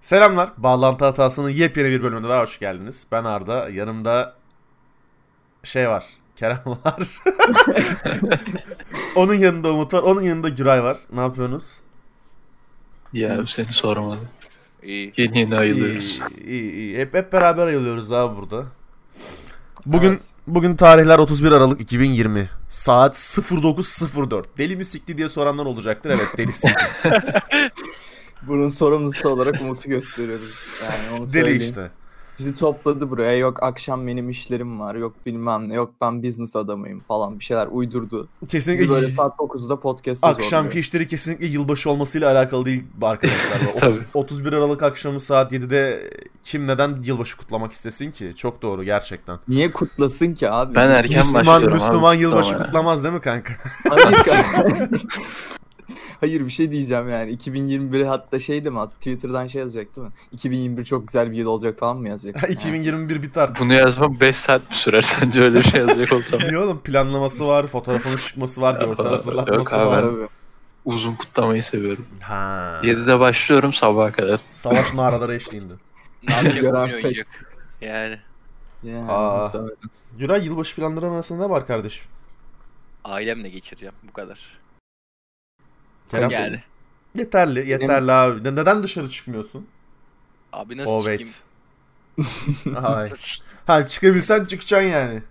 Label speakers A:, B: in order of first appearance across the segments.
A: Selamlar. Bağlantı hatasının yepyeni bir bölümüne daha hoş geldiniz. Ben Arda. Yanımda şey var. Kerem var. onun yanında Umut var. Onun yanında Güray var. Ne yapıyorsunuz?
B: Ya seni sormadım.
C: İyi.
B: Yeni yeni ayılıyoruz.
A: İyi, iyi, iyi. Hep, hep beraber ayılıyoruz abi burada. Bugün bugün tarihler 31 Aralık 2020. Saat 09.04. Deli mi sikti diye soranlar olacaktır. Evet deli sikti.
D: Bunun sorumlusu olarak Umut'u gösteriyoruz. Yani onu
A: deli
D: söyleyeyim.
A: işte.
D: Bizi topladı buraya. Yok akşam benim işlerim var. Yok bilmem ne. Yok ben business adamıyım falan. Bir şeyler uydurdu. Bizi böyle
A: Kesinlikle
D: saat 9'da podcast'a zorluyor.
A: Akşamki işleri kesinlikle yılbaşı olmasıyla alakalı değil arkadaşlar. Otuz-
B: Tabii.
A: 31 Aralık akşamı saat 7'de kim neden yılbaşı kutlamak istesin ki? Çok doğru gerçekten.
D: Niye kutlasın ki abi?
B: Ben erken
A: Müslüman,
B: başlıyorum
A: Müslüman
B: abi.
A: yılbaşı
B: Tamam ya.
A: kutlamaz değil mi kanka?
D: Hayır, kanka. Hayır bir şey diyeceğim yani. 2021 hatta şey de mi at- Twitter'dan şey yazacak değil mi? 2021 çok güzel bir yıl olacak falan mı yazacak?
A: 2021 biter.
B: Bunu yazmam 5 saat mi sürer sence öyle bir şey yazacak olsam?
A: Niye oğlum? Planlaması var, fotoğrafının çıkması var, görsel
B: Yok
A: hazırlanması
B: abi.
A: var.
D: Tabii.
B: Uzun kutlamayı seviyorum.
A: Ha.
B: 7'de başlıyorum sabaha kadar.
A: Savaş naraları eşliğinde.
C: Ne yapacak oyun
D: Gören
C: oynayacak. Yani
D: Yani,
A: Aa.
D: muhtemelen.
A: Güray yılbaşı planları arasında ne var kardeşim?
C: ailemle geçireceğim bu kadar.
A: Kerem?
C: Yani.
A: Yeterli, yeterli abi. Ne- Neden dışarı çıkmıyorsun?
C: Abi nasıl çıkayım?
A: Evet. Ay.
C: Nasıl çık-
A: Ha çıkabilsen çıkacaksın yani.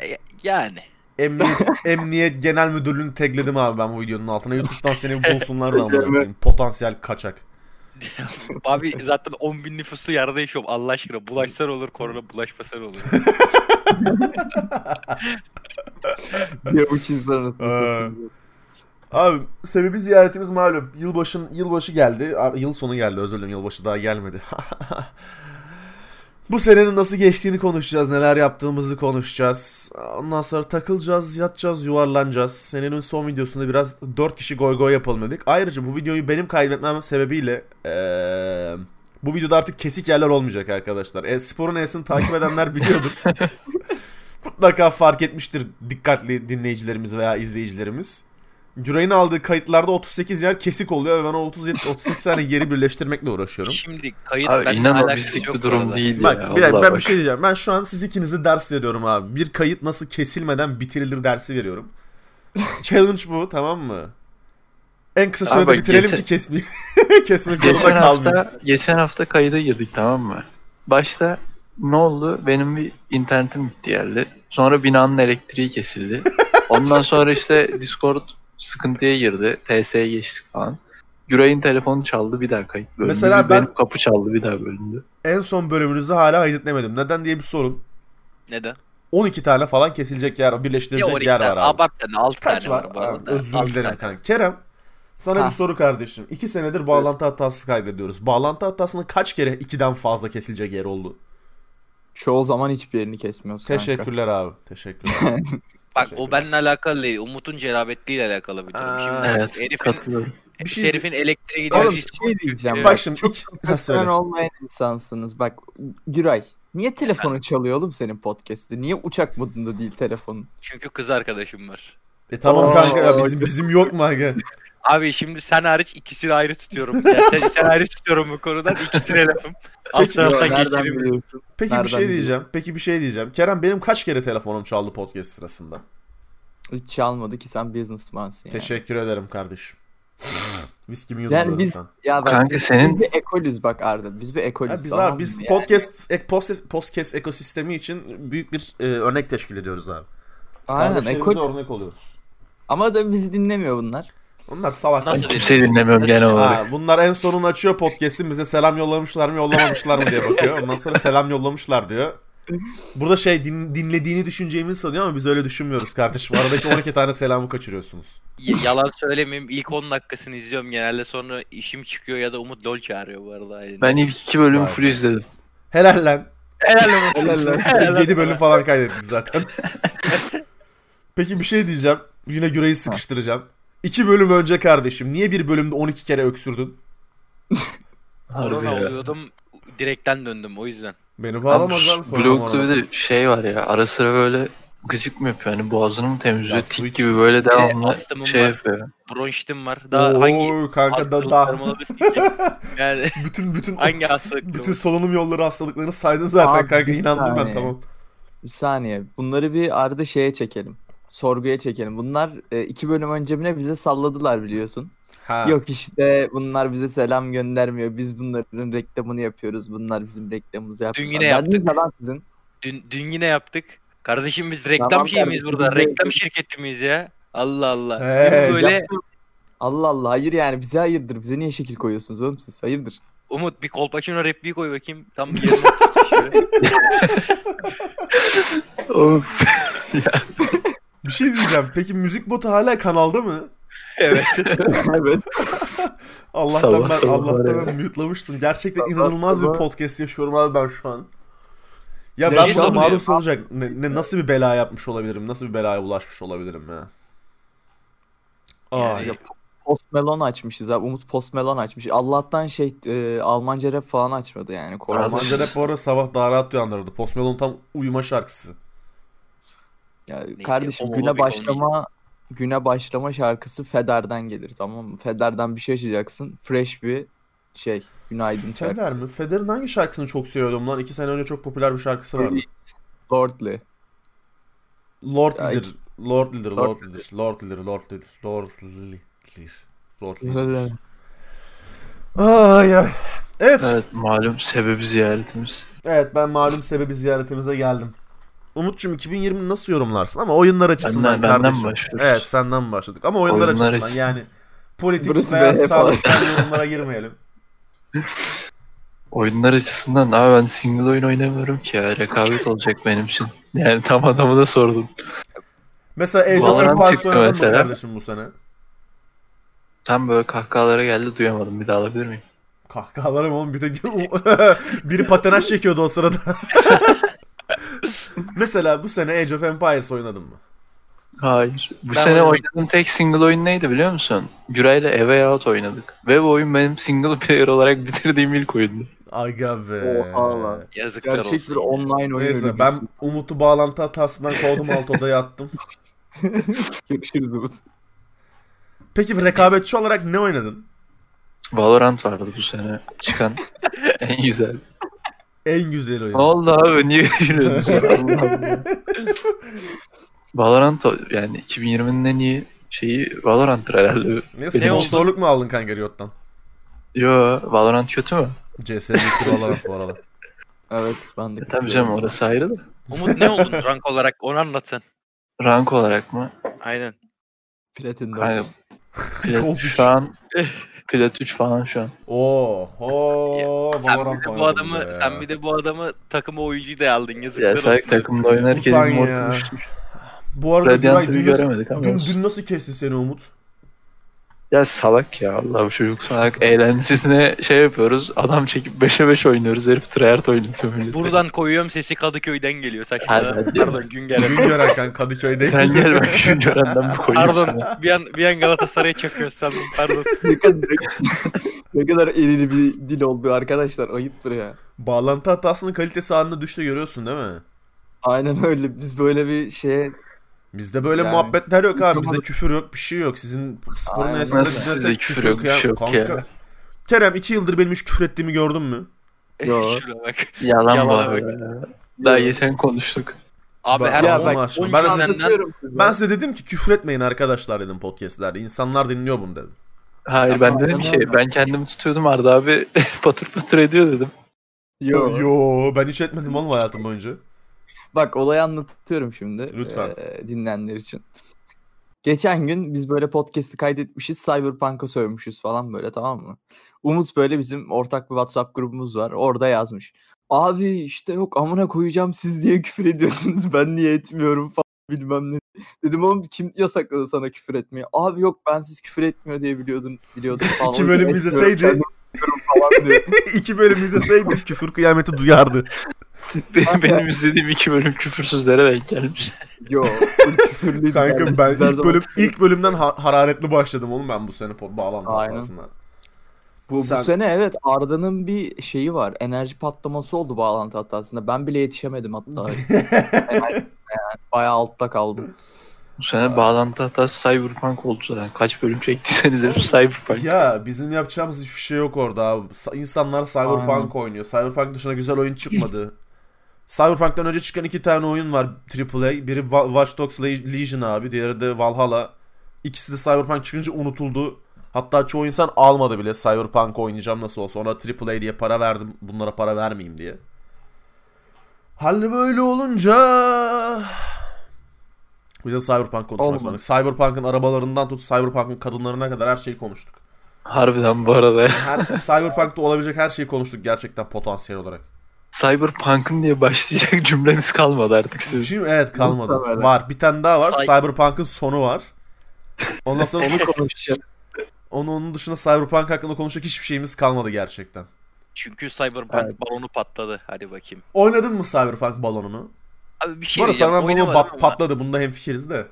C: E, Yani.
A: Emniyet, Emniyet Genel Müdürlüğü'nü tagledim abi ben bu videonun altına. YouTube'dan seni bir bulsunlar da amına
D: Ekleme.
A: koyayım. Potansiyel kaçak.
C: Abi zaten 10 bin nüfuslu yerde yaşıyorum Allah aşkına. Bulaşsan olur, korona bulaşmasan olur.
D: Bir avuç insan arasında
A: Ee,
D: satılıyor.
A: Abi sebebi ziyaretimiz malum. Yılbaşın yılbaşı geldi. Ar- Yıl sonu geldi özür dilerim yılbaşı daha gelmedi. bu senenin nasıl geçtiğini konuşacağız. Neler yaptığımızı konuşacağız. Ondan sonra takılacağız, yatacağız, yuvarlanacağız. Senenin son videosunda biraz 4 kişi goy goy yapalım dedik. Ayrıca bu videoyu benim kaydetmem sebebiyle eee, bu videoda artık kesik yerler olmayacak arkadaşlar. E, sporun esini takip edenler biliyordur. Mutlaka fark etmiştir dikkatli dinleyicilerimiz veya izleyicilerimiz. Güray'ın aldığı kayıtlarda 38 yer kesik oluyor ve ben o 37 38 tane yeri birleştirmekle uğraşıyorum.
C: Şimdi kayıt
B: Abi
C: benimle
B: inan o
C: alakası
B: bizlik
C: yok
B: bir
C: bu
B: durum
C: arada.
B: değil
A: Bak
B: ya.
A: bir dakika,
B: vallahi
A: ben bir
B: bak.
A: şey diyeceğim. Ben şu an siz ikinize ders veriyorum abi. Bir kayıt nasıl kesilmeden bitirilir dersi veriyorum. Challenge bu tamam mı? En kısa
B: Abi
A: sürede
B: bak,
A: bitirelim
B: geçen-
A: ki kesmeye kesmek zorunda
B: Geçen
A: kalmayayım.
B: hafta, geçen hafta kayda girdik tamam mı? Başta ne oldu? Benim bir internetim gitti geldi. Sonra binanın elektriği kesildi. Ondan sonra işte Discord sıkıntıya girdi. TS'ye geçtik falan. Güray'ın telefonu çaldı bir daha kayıt bölündü.
A: Mesela
B: Bir
A: ben-
B: Benim kapı çaldı bir daha bölündü.
A: En son bölümünüzü hala kaydetmedim. Neden diye bir sorun.
C: Neden?
A: 12 tane falan kesilecek yer,
C: Ya
A: birleştirilecek
C: 12
A: yer
C: tane,
A: var abi.
C: abart tane, 6
A: Kaç
C: tane
A: var?
C: var, bu arada.
A: Abi, özür
C: Altı
A: dilerim
C: tane.
A: kanka. Kerem sana
C: Ha.
A: bir soru kardeşim. İki senedir bağlantı hatası kaydediyoruz. Bağlantı hatasında kaç kere ikiden fazla kesilecek yer oldu?
D: Çoğu zaman hiçbir yerini kesmiyoruz kanka.
A: Teşekkürler abi. Teşekkürler.
C: Bak o benimle alakalı değil. Umut'un cerabetliğiyle alakalı bir durum. Şimdi
A: Aa,
B: Evet
C: herifin,
B: katılıyorum.
A: bir şey
C: herifin elektriğe gidiyor.
D: Oğlum
C: biz-
D: bir şey diyeceğim.
A: Bak şimdi iki... Ha,
D: Sen
A: söyle.
D: olmayan insansınız. Bak Güray. Niye telefonun çalıyor oğlum senin podcast'te? Niye uçak modunda değil telefonun?
C: Çünkü kız arkadaşım var.
A: E tamam
D: Oo,
A: kanka ya
D: bak.
A: bizim bizim yok mu aga?
C: Abi şimdi sen hariç ikisini ayrı tutuyorum. Ya sen, sen ayrı tutuyorum bu konudan ikisine lafım. Alt
A: Peki,
C: tarafta
D: Yo, nereden
C: geçirim.
D: biliyorsun?
A: Peki
D: Nereden
A: bir şey
D: biliyorum?
A: diyeceğim. Peki bir şey diyeceğim. Kerem benim kaç kere telefonum çaldı podcast sırasında?
D: Hiç çalmadı ki sen businessmansın yani.
A: Teşekkür ederim kardeşim. Biz kimi
D: Yani
A: yudum
D: biz- Ya bak,
B: Kanka
D: biz,
B: senin-
D: biz bir ekolüz bak Arda. Biz bir
A: Ya
D: ekolüz.
A: biz
D: tamam
A: abi
D: mı?
A: biz
D: Yani
A: podcast ek, podcast podcast ekosistemi için büyük bir e, örnek teşkil ediyoruz abi.
D: Aynen
A: Kardeşlerimize
D: ekol.
A: örnek oluyoruz.
D: Ama da bizi dinlemiyor bunlar.
A: Onlar salak.
C: Nasıl
B: Ben kimseyi dinlemiyorum genel olarak.
A: Ha, bunlar en sonunu açıyor podcast'in bize selam yollamışlar mı yollamamışlar mı diye bakıyor. Ondan sonra selam yollamışlar diyor. Burada şey din- dinlediğini düşüneceğimizi sanıyor ama biz öyle düşünmüyoruz kardeşim. Aradaki 12 tane selamı kaçırıyorsunuz.
C: Y- Yalan söylemeyeyim ilk 10 dakikasını izliyorum genelde sonra işim çıkıyor ya da Umut LOL çağırıyor bu arada. elinde.
B: Ben ilk iki bölümü
A: Vay
B: full
A: be.
B: izledim.
A: Helal lan.
C: Helal olsun.
D: Helal lan.
C: Helal olsun.
A: 7 bölüm falan kaydettik zaten. Peki bir şey diyeceğim. Yine Güre'yi sıkıştıracağım. 2 bölüm önce kardeşim niye bir bölümde 12 kere öksürdün?
B: Harbi
C: Korona
B: ya.
C: oluyordum direkten döndüm o yüzden.
A: Beni
B: Abi,
A: bağlamazlar. korona
B: Blog'da
A: morona.
B: bir de şey var ya ara sıra böyle gıcık mı yapıyor? Hani boğazını mı temizliyor?
A: Ya su
B: Tip
A: iç.
B: gibi böyle devamlı
C: E, astımım
B: şey
C: var.
B: yapıyor.
C: Bronşitim var. Daha hangi
A: Oo, kanka da,
C: hastalıklarım
A: da,
C: olabilir ki? Yani
A: bütün bütün
C: hangi hastalıklarım
A: bütün solunum yolları hastalıklarını saydın zaten
D: Abi,
A: kanka
D: bir
A: inandım ben
D: saniye.
A: tamam.
D: Bir saniye. Bunları bir arada şeye çekelim. Sorguya çekelim. Bunlar e, iki bölüm önce bile bize salladılar biliyorsun.
A: Ha.
D: Yok işte bunlar bize selam göndermiyor. Biz bunların reklamını yapıyoruz. Bunlar bizim reklamımızı yapıyor.
C: yine yaptık.
D: Lan sizin.
C: Dün, dün yine yaptık. Kardeşim biz reklam
D: Tamam
C: şeyi miyiz
D: kardeşim,
C: burada?
D: biz de-
C: Reklam şirketi miyiz ya? Allah Allah.
A: Hey,
C: Biz böyle
D: Allah Allah hayır yani bize hayırdır. Bize niye şekil koyuyorsunuz oğlum siz? Hayırdır.
C: Umut bir kolpaçino repliği koy bakayım. Tam yerine oturttu şöyle.
B: Oğlum,
A: Bir şey diyeceğim. Peki müzik botu hala kanalda mı?
C: evet.
D: evet.
A: Allah'tan
B: Sabah
A: ben
B: sabah
A: Allah'tan
B: var
A: ben mute'lamıştım. Gerçekten
D: Sabah
A: inanılmaz
D: sabah.
A: bir podcast yaşıyorum abi ben şu an. Ya
D: Ya
A: ben
C: şey
A: buna
C: sormuyor.
A: maruz olacak. Ne, ne- nasıl bir bela yapmış olabilirim? Nasıl bir belaya bulaşmış olabilirim ya? Aa,
C: Yani-
D: Post Malone açmışız abi. Umut Post Malone açmış. Allah'tan şey e, Almanca rap falan açmadı yani. Korona.
B: Almanca-
A: Almanca rap bu arada sabah daha rahat uyandırırdı. Post Malone tam uyuma şarkısı.
D: Ya
C: Neyse,
D: kardeşim
C: homofobik
D: güne
C: olmayacağım.
D: başlama güne başlama şarkısı Feder'den gelir tamam mı? Feder'den bir şey açacaksın. Fresh bir şey. Günaydın
A: Feder
D: şarkısı.
A: mi? Feder'in hangi şarkısını çok seviyordum lan? İki sene önce çok popüler bir şarkısı vardı.
D: Lordly.
A: Lord
D: Ya
A: Lider. Lord Lider.
D: Lord
A: Lord Lider. Lord Lider. Lord Lider. Lord Lider. Lord Lider. Ay ay. Evet.
B: evet malum sebebi ziyaretimiz.
A: Evet ben malum sebebi ziyaretimize geldim. Umut'cum 2020'yi nasıl yorumlarsın ama oyunlar açısından
B: Benden- benden mi
A: kardeşim.
B: başlıyoruz?
A: Evet senden mi başladık ama oyunlar,
B: Oyunlar
A: açısından
B: açısından.
A: yani politik
D: Burası
A: veya
D: BH falan.
A: sağlıksal yorumlara girmeyelim.
B: Oyunlar açısından abi ben single oyun oynamıyorum ki ya. Rekabet olacak benim için. Yani tam adamı da sordun.
A: Mesela Age of
B: Valorant
A: Empires
B: çıktı
A: oynadın mı
B: mesela.
A: kardeşim bu sene?
B: Tam böyle kahkahalara geldi duyamadım. Bir daha alabilir miyim?
A: Kahkahalarım oğlum bir de biri patenaj çekiyordu o sırada. mesela bu sene Age of Empires oynadın mı?
B: Hayır. Bu
A: Ben
B: sene
A: oynadım.
B: oynadığım tek single oyun neydi biliyor musun? Güray'la Eve Out oynadık. Ve bu oyun benim single player olarak bitirdiğim ilk oyundu.
A: Aga be.
D: Oha lan.
C: Yazıklar
D: Gerçek
C: olsun. ya.
D: bir online oyun
A: Neyse
D: ölümcüsü.
A: ben Umut'u bağlantı hatasından kovdum alt odaya attım.
D: görüşürüz Umut.
A: Peki rekabetçi olarak ne oynadın?
B: Valorant vardı bu sene çıkan en güzel.
A: En güzel oyun.
B: Ne oldu abi niye gülüyorsun? Allah Allah. Valorant o- yani 2020'nin en iyi şeyi Valorant'tır herhalde.
A: Ne
C: oldu?
A: sponsorluk mu aldın kanka Riot'tan?
B: Yo Valorant kötü mü?
A: CS Victor Valorant bu arada.
D: Evet ben de.
B: E, tabii canım orası ayrı da.
C: Umut ne oldun rank olarak onu anlatsan.
B: Rank olarak mı?
C: Aynen.
D: Platin dört.
B: Kanka.
A: Gold
B: Plat
A: üç.
B: şu an Plat 3 falan şu an.
A: Oho
C: Sen
A: Valorant
C: bir de
A: oynadım
C: bu adamı
A: be.
C: sen bir de bu adamı takıma oyuncu da aldın yazıklar
B: Ya sanki takımda oynarken
A: Ulan
B: immortal
A: ya.
B: düşmüş.
A: Bu arada Güray,
B: Radiant'ı
A: dün,
B: bir
A: nasıl,
B: göremedik ama.
A: dün,
B: olsun.
A: dün nasıl kesti seni Umut?
B: Ya salak ya Allah bu çocuk salak. Eğlencesine şey yapıyoruz. Adam çekip 5'e 5 oynuyoruz. Herif tryhard oynatıyor milleti.
C: Buradan koyuyorum sesi Kadıköy'den geliyor saçmalama.
B: Hadi.
C: Pardon Güngören.
A: Dün gören kanka Kadıköy'de.
B: Sen gel ben şu görenden bir koyayım sana.
C: Pardon bir an, bir an Galatasaray'a çakıyor sandım pardon.
D: ne kadar, ne kadar elili bir dil oldu arkadaşlar. Ayıptır ya.
A: Bağlantı hatasının kalitesi anında düştü görüyorsun değil mi?
D: Aynen öyle. Biz böyle bir şeye
A: Bizde böyle
D: Yani-
A: muhabbetler yok abi. Bizde
D: Tamam.
A: küfür yok, bir şey yok. Sizin sporun
D: Aynen.
A: esnasında
B: Nasıl size küfür yok bir şey yok
A: kanka.
B: ya.
A: Kerem 2 yıldır benim hiç küfür ettiğimi gördün mü?
D: Yo.
C: Şuna bak.
B: Yalan bu
C: Yalana
B: arada. Daha geçen konuştuk.
C: Abi
A: Bak,
C: her
A: ya
C: on-
A: bak,
C: 13
A: ben de
C: senden
D: anlatıyorum size.
A: Ben size dedim ki küfür etmeyin arkadaşlar dedim podcastlerde. İnsanlar dinliyor bunu dedim.
B: Hayır
D: Tamam,
B: ben dedim
D: ben
B: ki
D: anladım.
B: şey. ben kendimi tutuyordum Arda abi patır patır ediyor dedim.
D: Yo.
A: Yo ben hiç etmedim oğlum hayatım boyunca.
D: Bak olayı anlatıyorum şimdi.
A: Lütfen.
D: eee, dinleyenler için. Geçen gün biz böyle podcast'i kaydetmişiz. Cyberpunk'a sövmüşüz falan böyle tamam mı? Umut böyle bizim ortak bir WhatsApp grubumuz var. Orada yazmış. Abi işte yok amına koyacağım siz diye küfür ediyorsunuz. Ben niye etmiyorum falan bilmem ne. Dedim oğlum kim yasakladı sana küfür etmeyi? Abi yok ben siz küfür etmiyor diye biliyordum. biliyordum falan.
A: İki
D: O yüzden
A: bölüm
D: etmiyorum,
A: izleseydi-
D: kendim yapıyorum falan diyor.
A: İki bölüm izleseydik küfür kıyameti duyardı.
B: Benim, benim izlediğim iki bölüm küfürsüzlere denk gelmiş.
D: Yo. küfürlüydü yani.
A: Kanka ben
D: Biz her
A: ilk
D: zaman-
A: bölüm ilk bölümden ha- hararetli başladım oğlum ben bu sene po- bağlantı
D: Aynen.
A: hatasından.
D: Bu,
A: Sen-
D: bu sene evet Arda'nın bir şeyi var. Enerji patlaması oldu bağlantı hatasında. Ben bile yetişemedim hatta. Enerjisine yani. Bayağı altta kaldım.
B: Bu sene bağlantı hatası Cyberpunk oldu zaten. Kaç bölüm çektiyseniz hep Cyberpunk.
A: Ya bizim yapacağımız hiçbir şey yok orada abi. Sa- İnsanlar Cyberpunk
D: Aynen.
A: oynuyor. Cyberpunk dışında güzel oyun çıkmadı. Cyberpunk'tan önce çıkan iki tane oyun var AAA. Biri Wa- Watch Dogs Le- Legion abi. Diğeri de Valhalla. İkisi de Cyberpunk çıkınca unutuldu. Hatta çoğu insan almadı bile Cyberpunk oynayacağım nasıl olsa. Ona AAA diye para verdim. Bunlara para vermeyeyim diye. Hal böyle olunca biz de Cyberpunk konuşmak
D: Olmadı.
A: zorundayız. Cyberpunk'ın arabalarından tut Cyberpunk'ın kadınlarına kadar her şeyi konuştuk.
B: Harbiden bu arada ya.
A: Her, Cyberpunk'ta olabilecek her şeyi konuştuk gerçekten potansiyel olarak.
B: Cyberpunk'ın diye başlayacak cümleniz kalmadı artık siz.
A: Şimdi evet kalmadı.
D: Muhtemelen.
A: Var. Bir tane daha var.
C: Say-
A: Cyberpunk'ın sonu var. Ondan sonra
D: Onu konuşacağız.
A: onun, onun dışında Cyberpunk hakkında konuşacak hiçbir şeyimiz kalmadı gerçekten.
C: Çünkü Cyberpunk
D: Evet.
C: balonu patladı. Hadi bakayım.
A: Oynadın mı Cyberpunk balonunu?
C: Abi bir
A: Bu
C: şey
A: arada
C: diyeceğim.
A: Cyberpunk balonu
C: Oynamadım,
A: bat-
C: ama,
A: patladı. Bunda hemfikiriz de.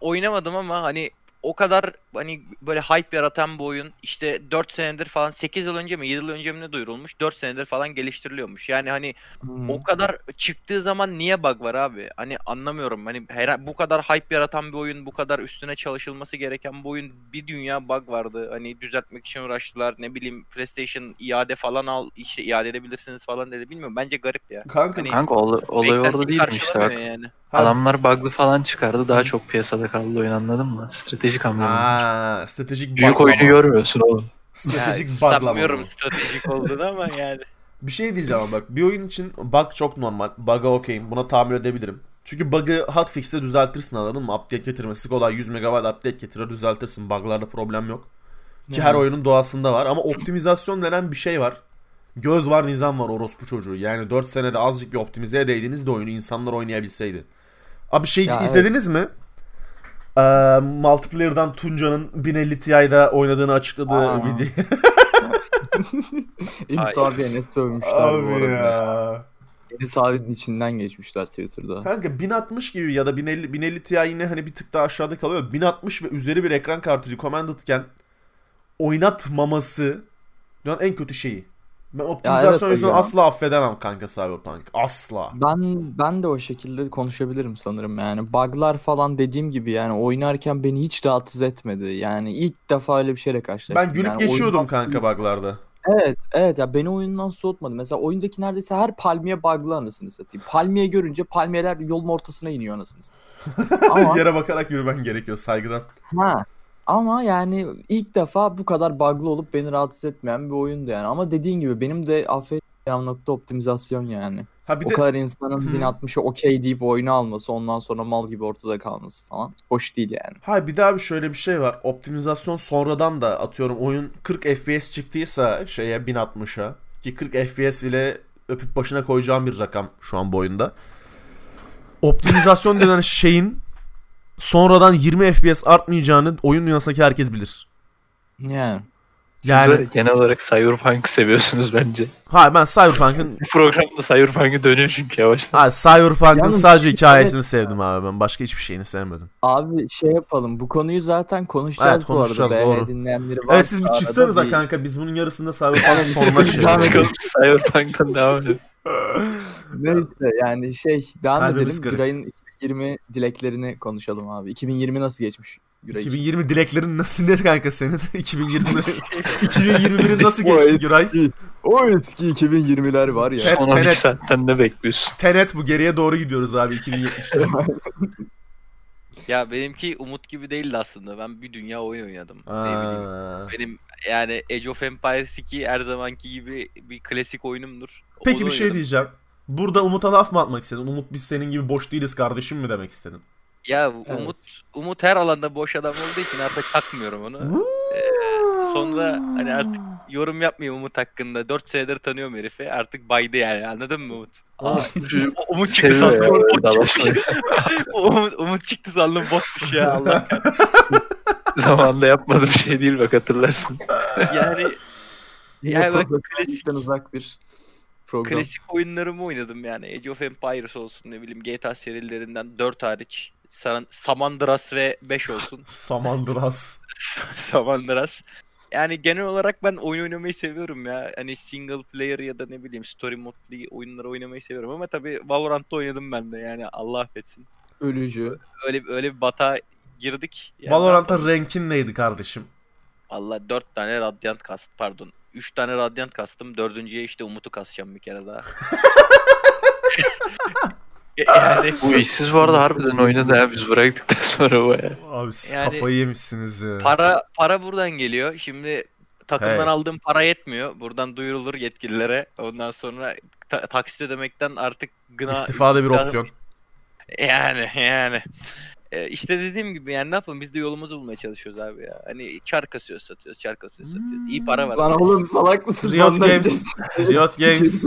C: oynamadım ama hani o kadar hani böyle hype yaratan bir oyun işte 4 senedir falan 8 yıl önce mi 7 yıl önce mi ne duyurulmuş 4 senedir falan geliştiriliyormuş. Yani hani
D: Hmm.
C: o kadar çıktığı zaman niye bug var abi? Hani anlamıyorum. Hani her, bu kadar hype yaratan bir oyun, bu kadar üstüne çalışılması gereken bir oyun bir dünya bug vardı. Hani düzeltmek için uğraştılar. Ne bileyim PlayStation iade falan al, işte iade edebilirsiniz falan dedi. Bilmiyorum. Bence garip ya.
A: Kanka
C: Hani-
B: Kanka ol- olay orada
C: Beklentiyi
B: değilmiş işte bak.
C: karşılamıyor Yani.
B: Adamlar bug'lı falan çıkardı. Daha çok piyasada kaldı oyun anladın mı? Stratejik hamle. bunlar.
A: Ha, stratejik
B: Büyük
A: baklama.
B: oyunu görmüyorsun oğlum.
C: Ya,
A: Stratejik baklama.
C: sanmıyorum stratejik olduğunu ama yani.
A: Bir şey diyeceğim ama bak bir oyun için bug çok normal. Bug'a okeyim. Buna tahammül edebilirim. Çünkü bug'ı hotfix'te düzeltirsin anladın mı? Update getirmesi kolay. 100 MB update getirir düzeltirsin. Bug'larda problem yok. Ki her oyunun doğasında var. Ama optimizasyon denen bir şey var. Göz var nizam var orospu çocuğu. Yani 4 senede azıcık bir optimize edeydiniz de oyunu insanlar oynayabilseydi. Abi şey
D: Ya evet.
A: izlediniz mi? Ee, Multiplayer'dan Tunca'nın 1050 Ti'de oynadığını açıkladığı
D: Aa.
A: video.
D: Enis
C: Ay.
D: abiye ne sövmüşler bu
A: Abi
D: arada.
A: ya.
D: Enis abinin içinden geçmişler Twitter'da.
A: Kanka 1060 gibi ya da 1050, 1050 Ti yine hani bir tık daha aşağıda kalıyor. 1060 ve üzeri bir ekran kartı recommendedken oynatmaması dünyanın en kötü şeyi. Ben optimizasyon
D: evet,
A: yüzünden
D: ya.
A: asla affedemem kanka Cyberpunk. Asla.
D: Ben ben de o şekilde konuşabilirim sanırım yani. Bug'lar falan dediğim gibi yani oynarken beni hiç rahatsız etmedi. Yani ilk defa öyle bir şeyle karşılaştım.
A: Ben gülüp
D: Yani
A: geçiyordum
D: oyundan-
A: kanka bug'larda.
D: Evet, evet ya beni oyundan soğutmadı. Mesela oyundaki neredeyse her palmiye bug'lı anasını satayım. Palmiye görünce palmiyeler yolun ortasına iniyor anasını satayım. Ama
A: Yere bakarak yürümen gerekiyor saygıdan.
D: Ha. Ama yani ilk defa bu kadar bug'lı olup beni rahatsız etmeyen bir oyundu yani. Ama dediğin gibi benim de affedeceğim nokta optimizasyon yani.
A: Ha bir
D: o
A: de
D: kadar insanın
A: Hı.
D: 1060'ı okey deyip oyunu alması ondan sonra mal gibi ortada kalması falan. Hoş değil yani.
A: ha bir daha bir şöyle bir şey var. Optimizasyon sonradan da atıyorum oyun 40 FPS çıktıysa şeye 1060'a ki 40 FPS bile öpüp başına koyacağım bir rakam şu an bu oyunda. Optimizasyon denen şeyin sonradan 20 FPS artmayacağını oyun dünyasındaki herkes bilir.
D: Yani.
B: Siz
A: Yani-
B: böyle genel olarak Cyberpunk'ı seviyorsunuz bence.
A: Ha ben Cyberpunk'ın
B: Bu programda Cyberpunk'a dönüyor çünkü yavaştan.
A: ha, Cyberpunk'ın
D: Yalnız-
A: sadece hikayesini sevdim abi ben. Başka hiçbir şeyini sevmedim.
D: Abi şey yapalım. Bu konuyu zaten konuşacağız
A: Evet, konuşacağız,
D: bu arada.
A: doğru.
D: Değerli dinleyenleri varsa
A: Evet siz bir
D: arada
A: çıksanıza
D: bir-
A: kanka biz bunun yarısında Cyberpunk'ın sonuna şey.
D: Devam edelim.
B: Çıkalım Cyberpunk'tan devam edelim.
D: Neyse yani şey devam
A: Kalbimiz
D: edelim.
A: kırık.
D: Güray'ın 2020 dileklerini konuşalım abi. 2020 nasıl geçmiş Güray için?
A: 2020 dileklerin nasıl ne kanka senin? 2020 2021'in nasıl geçti Güray?
D: O eski 2020'ler var ya.
A: Ter-
B: Son 12
A: Tenet.
B: saatten ne bekliyorsun?
A: Tenet bu geriye doğru gidiyoruz abi 2070'te.
C: Ya benimki umut gibi değildi aslında. Ben bir dünya oyun oynadım. Ne bileyim.
A: Aa.
C: Benim yani Age of Empires 2 her zamanki gibi bir klasik oyunumdur.
A: Peki
C: Onu
A: bir şey
C: oynadım.
A: diyeceğim. Burada Umut'a laf mı atmak istedin? Umut biz senin gibi boş değiliz kardeşim mi demek istedin?
C: Ya Umut Umut her alanda boş adam olduğu için artık takmıyorum onu. Ee, sonra hani artık yorum yapmayayım Umut hakkında. 4 senedir tanıyorum herifi. Artık baydı yani. Anladın mı Umut? Aa,
D: Ah,
C: o- Umut çıktı
B: Seviyor Şey ya
C: sandım.
B: böyle
C: Bot
B: dalaşmayı.
C: çıkmış. Umut, Umut çıktı sandım botmuş ya Allah.
B: Zamanında yapmadığım şey değil bak hatırlarsın.
C: Yani Yani bak,
D: Profesyonellikten uzak bir program.
C: klasik oyunlarımı oynadım yani. Age of Empires olsun ne bileyim GTA serilerinden 4 hariç. San- Samandıras ve 5 olsun.
A: Samandıras.
C: Samandıras. Yani genel olarak ben oyun oynamayı seviyorum ya. Hani single player ya da ne bileyim story modlu oyunları oynamayı seviyorum ama tabii Valorant'ta oynadım ben de yani Allah affetsin.
D: Ölücü.
C: Öyle öyle bir batağa girdik. Yani
A: Valorant'ta rankin neydi kardeşim?
C: Valla 4 tane Radiant kast pardon. 3 tane Radiant kastım. Dördüncüye işte Umut'u kasacağım bir kere daha. yani
B: Bu işsiz bu arada harbiden oynadı ha biz bıraktıktan sonra baya.
A: Abi siz
C: Yani-
A: kafayı yemişsiniz ya.
C: para para buradan geliyor. Şimdi takımdan
A: Evet.
C: aldığım para yetmiyor. Buradan duyurulur yetkililere. Ondan sonra ta- taksit ödemekten artık gına
A: İstifade bir
C: İstifade-
A: opsiyon.
C: Yani yani. E, işte dediğim gibi yani ne yapalım biz de yolumuzu bulmaya çalışıyoruz abi ya. Hani çar kasıyoruz satıyoruz, çar kasıyoruz satıyoruz. İyi para var.
D: Lan oğlum salak mısın?
A: Riot
D: Ondan
A: Games. Riot Games.